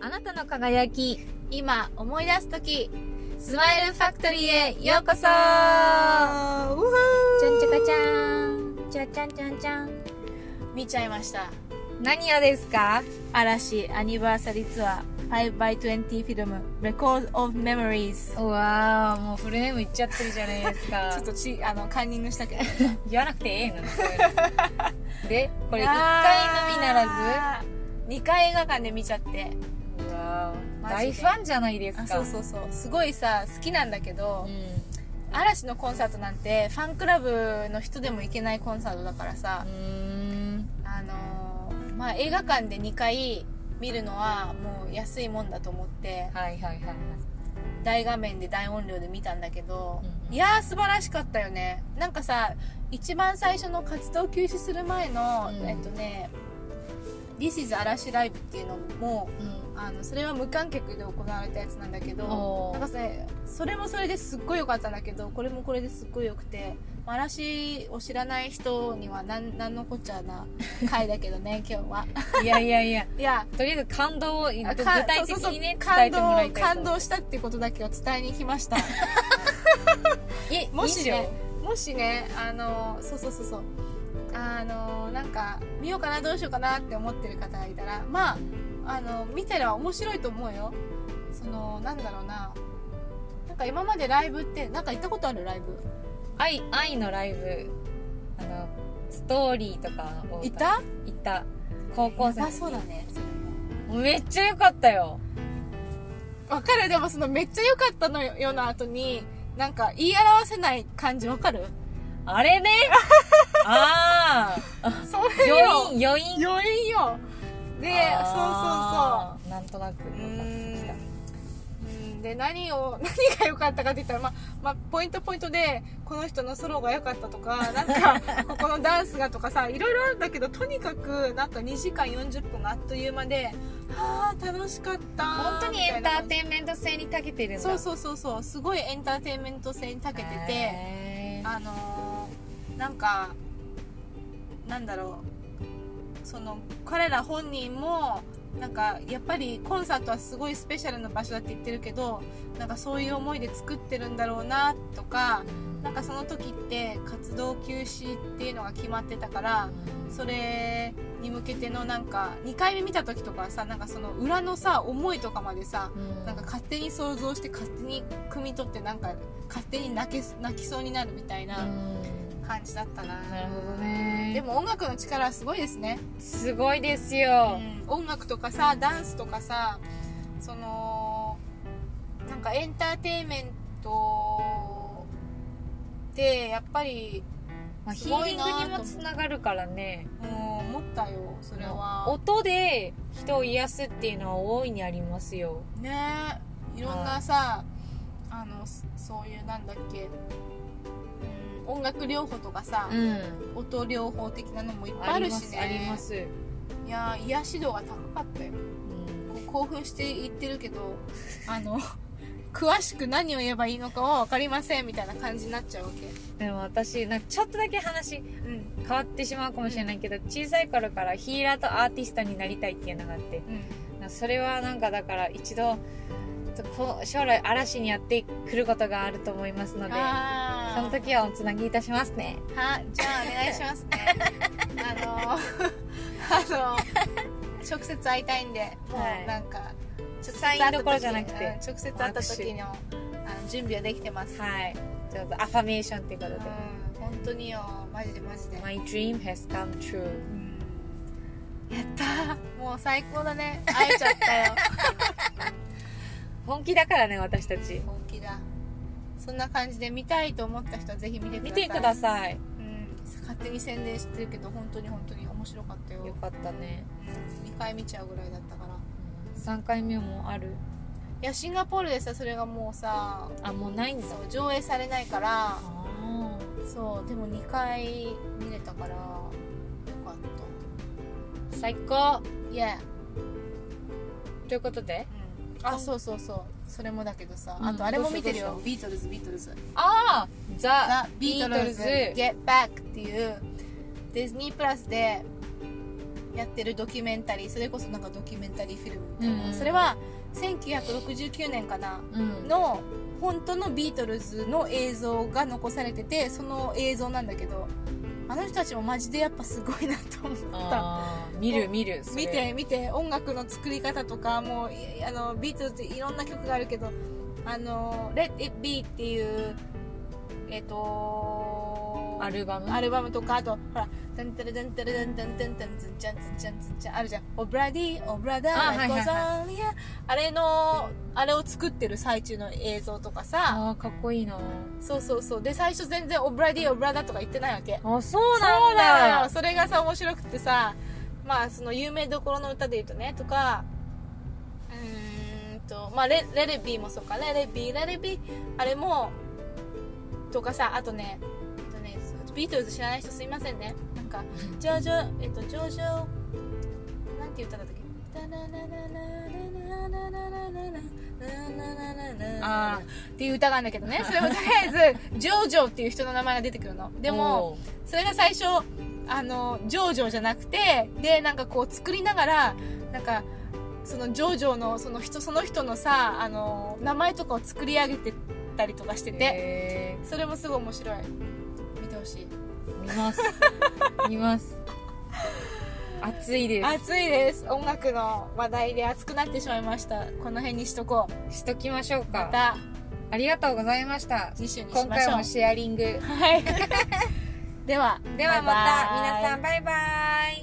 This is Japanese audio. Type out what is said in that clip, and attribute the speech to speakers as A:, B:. A: なたの輝き、
B: 今思い出すとき、スマイルファクトリーへようこそち
A: ゃんちゃかちゃん。ちゃちゃんちゃんちゃん。
B: 見ちゃいました。
A: 何をですか
B: 嵐アニバーサリーツアー 5x20 フィルム Record of Memories。
A: うわー、もうフルネーム言っちゃってるじゃないですか。
B: ちょっとち、あの、カンニングしたけど。
A: 言わなくてええのにそういうので、これ1回のみなら
B: ず ?2 回映画館で見ちゃって。
A: ず、うわー
B: マジ
A: 大
B: で
A: ファンじゃないですか。
B: あそうそうそう。すごいさ、好きなんだけど、嵐のコンサートなんて、ファンクラブの人でも行けないコンサートだからさ、
A: うん。う
B: あのーまあ、映画館で2回見るのはもう安いもんだと思って
A: ーん。、はいはいはいはい。
B: 大画面で大音量で見たんだけど、
A: うんうん
B: いやー素晴らしかったよね。なんかさ、一番最初の活動休止する前の、
A: うん
B: えっとね、This is 嵐ライブっていうのも、
A: うん。
B: あのそれは無観客で行われたやつなんだけど
A: お
B: な
A: ー
B: んかそれそれもそれですっごい良かったんだけどこれもこれですっごい良くてまあ嵐を知らない人にはなんなんのこっちゃな回だけ どね今日は
A: いやいやいや。
B: いや
A: とりあえず感動を具
B: あ
A: 体
B: か
A: 的
B: そうそう
A: にね
B: そう
A: 伝えてもらいたい
B: 感動感動したっていうことだけを伝えに来ました
A: え
B: もしね
A: い
B: もしねあのそうそうそうそうあのなんか見ようかなどうしようかなって思ってる方がいたらまああの見たら面白いと思うよそのなんだろうななんか今までライブってなんか行ったことあるライブ
A: 愛愛のライブあのストーリーとかを
B: 行った
A: 行った高校生
B: あそうだねそれも
A: めっちゃ良かったよ
B: わかるでもそのめっちゃ良かったのよの後になんか言い表せない感じ わかる
A: あれ ねああ
B: それ よ
A: 余韻余韻
B: 余韻よでそう
A: う
B: そうそう
A: そうなんとなく
B: うーんうんで何を 何が良かったかって言ったら、まあまあ、ポイントポイントでこの人のソロが良かったとかな んかここのダンスがとかさいろいろあるんだけどとにかくなんか2時間40分があっという間であー楽しかった
A: 本当にエンター
B: イ
A: テインメント性に長けてるんだ
B: そう
A: う
B: そうそうそうすごいエンターテインメント性に長けてて、あのーなんかなんだろうその彼ら本人もなんかやっぱりコンサートはすごいスペシャルな場所だって言ってるけどなんかそういう思いで作ってるんだろうなとかなんかその時って活動休止っていうのが決まってたからそれに向けてのなんか2回目見た時とかはさなんかその裏のさ思いとかまでさなんか勝手に想像して勝手に汲み取ってなんか勝手に泣け泣きそうになるみたいな感じだったな、
A: なるほどね
B: でも音楽の力はすごいですね、
A: すごいですよ、
B: 音楽とかさダンスとかさそのなんかエンターテインメントってやっぱり
A: まあ、
B: す
A: ヒ
B: ご
A: ー
B: い
A: リン
B: な
A: グ
B: と思う
A: にもつながるからね
B: もう思ったよそれは
A: 音で人を癒すっていうのは大いにありますよ
B: ねえいろんなさあのそそういうなんだっけ、うん、音楽療法とかさ、
A: ん
B: 音療法的なのもいっぱい
A: あ
B: ある
A: り
B: し
A: ます
B: ね
A: あります、
B: いやー癒し度が高かったよ
A: うん
B: こう興奮して言ってるけどあの 詳しく何を言えばいいのかは分かりませんみたいな感じになっちゃうわけ、
A: でも私なんかちょっとだけ話
B: うん
A: 変わってしまうかもしれないけど、小さい頃からヒーラーとアーティストになりたいっていうのがあってなんかそれはなんかだから一度ちょっとこう将来嵐にやってくることがあると思いますので
B: あー
A: その時はおつなぎいたしますね
B: はじゃあお願いしますね あのあの直接会いたいんでも
A: は
B: う
A: い
B: なんか
A: ちょっとサインどころじゃなく
B: うん
A: て
B: 直接会った時のあの準備はできてます、
A: はいちょっとアファメーションっていうことで
B: うん本当によマジでマジで、
A: My dream has come true
B: うんやったーもう最高だ ね会えちゃったよ
A: 本気だからね私たち
B: 本気だそんな感じで見たいと思った人はぜひ見てください
A: 見てください
B: うん、勝手に宣伝してるけど本当に本当に面白かったよ
A: よかったね
B: 2回見ちゃうぐらいだったからい
A: 3回目もある
B: やシンガポールでさそれがもうさ
A: あもうないんだ
B: そう上映されないから
A: あ
B: そうでも2回見れたからよかっ
A: ー最高
B: たいや、
A: ということで
B: うん、あそうそうそうそれもだけどさ、
A: うん
B: あとあれも見てる
A: どう
B: よビートルズビートルズ
A: ああザ
B: ザ・・ビートルズ Get Back っていうディズニープラスで、えやってるドキュメンタリーそれこそなんかドキュメンタリーフィルムみたい
A: う
B: な、
A: ん
B: それは1969年かな
A: うん
B: の本当のビートルズの映像が残されててその映像なんだけどあの人たちもマジでやっぱすごいなと思った
A: あー見る見るそれ
B: 見て見て音楽の作り方とかもういあのビートルズいろんな曲があるけど「あの Let It Be」っていうえっ、と
A: アルバム
B: アルバムとかあとほら「ダンタラダンタラダンタンタンタンズンチャンズンチャンズンチャン」あるじゃん「オブラディオブラダ
A: あはい
B: ーライ
A: はい
B: コ
A: は
B: ザンリア」あれのあれを作ってる最中の映像とかさ
A: あーかっこいいな
B: そうそうそうで最初全然「オブラディオブラダ」とか言ってないわけ
A: あそう
B: そうなの
A: なんだ
B: よそれがさ面白くてさまあその有名どころの歌で言うとねとかうーんとまあレレレビーもそうかレレビーレレビーあれもとかさあとねえっとねそうビートルズ知らない人すいませんねなんかジョージョえっとジョージョなんていう歌だったっけ
A: あ
B: っていう歌なんだけどねそれもとりあえずジョージョっていう人の名前が出てくるの
A: ー
B: でも
A: おー
B: それが最初あのジョージョじゃなくてでなんかこう作りながらなんかそのジョージョのその人その人のさあの名前とかを作り上げてたりとかしてて、
A: へ
B: それもすごい面白い見てほしい
A: ー見 ます見ます暑いで
B: 暑いです音楽の話題で熱くなってしまいましたこの辺にしとこう
A: すしときましょう
B: ま
A: か
B: た
A: ありがとうございました
B: 次週にし
A: 今
B: まし
A: 回
B: ょう
A: もシェアリング
B: はい では
A: ではまた
B: バイバイ
A: 皆さんバイバイ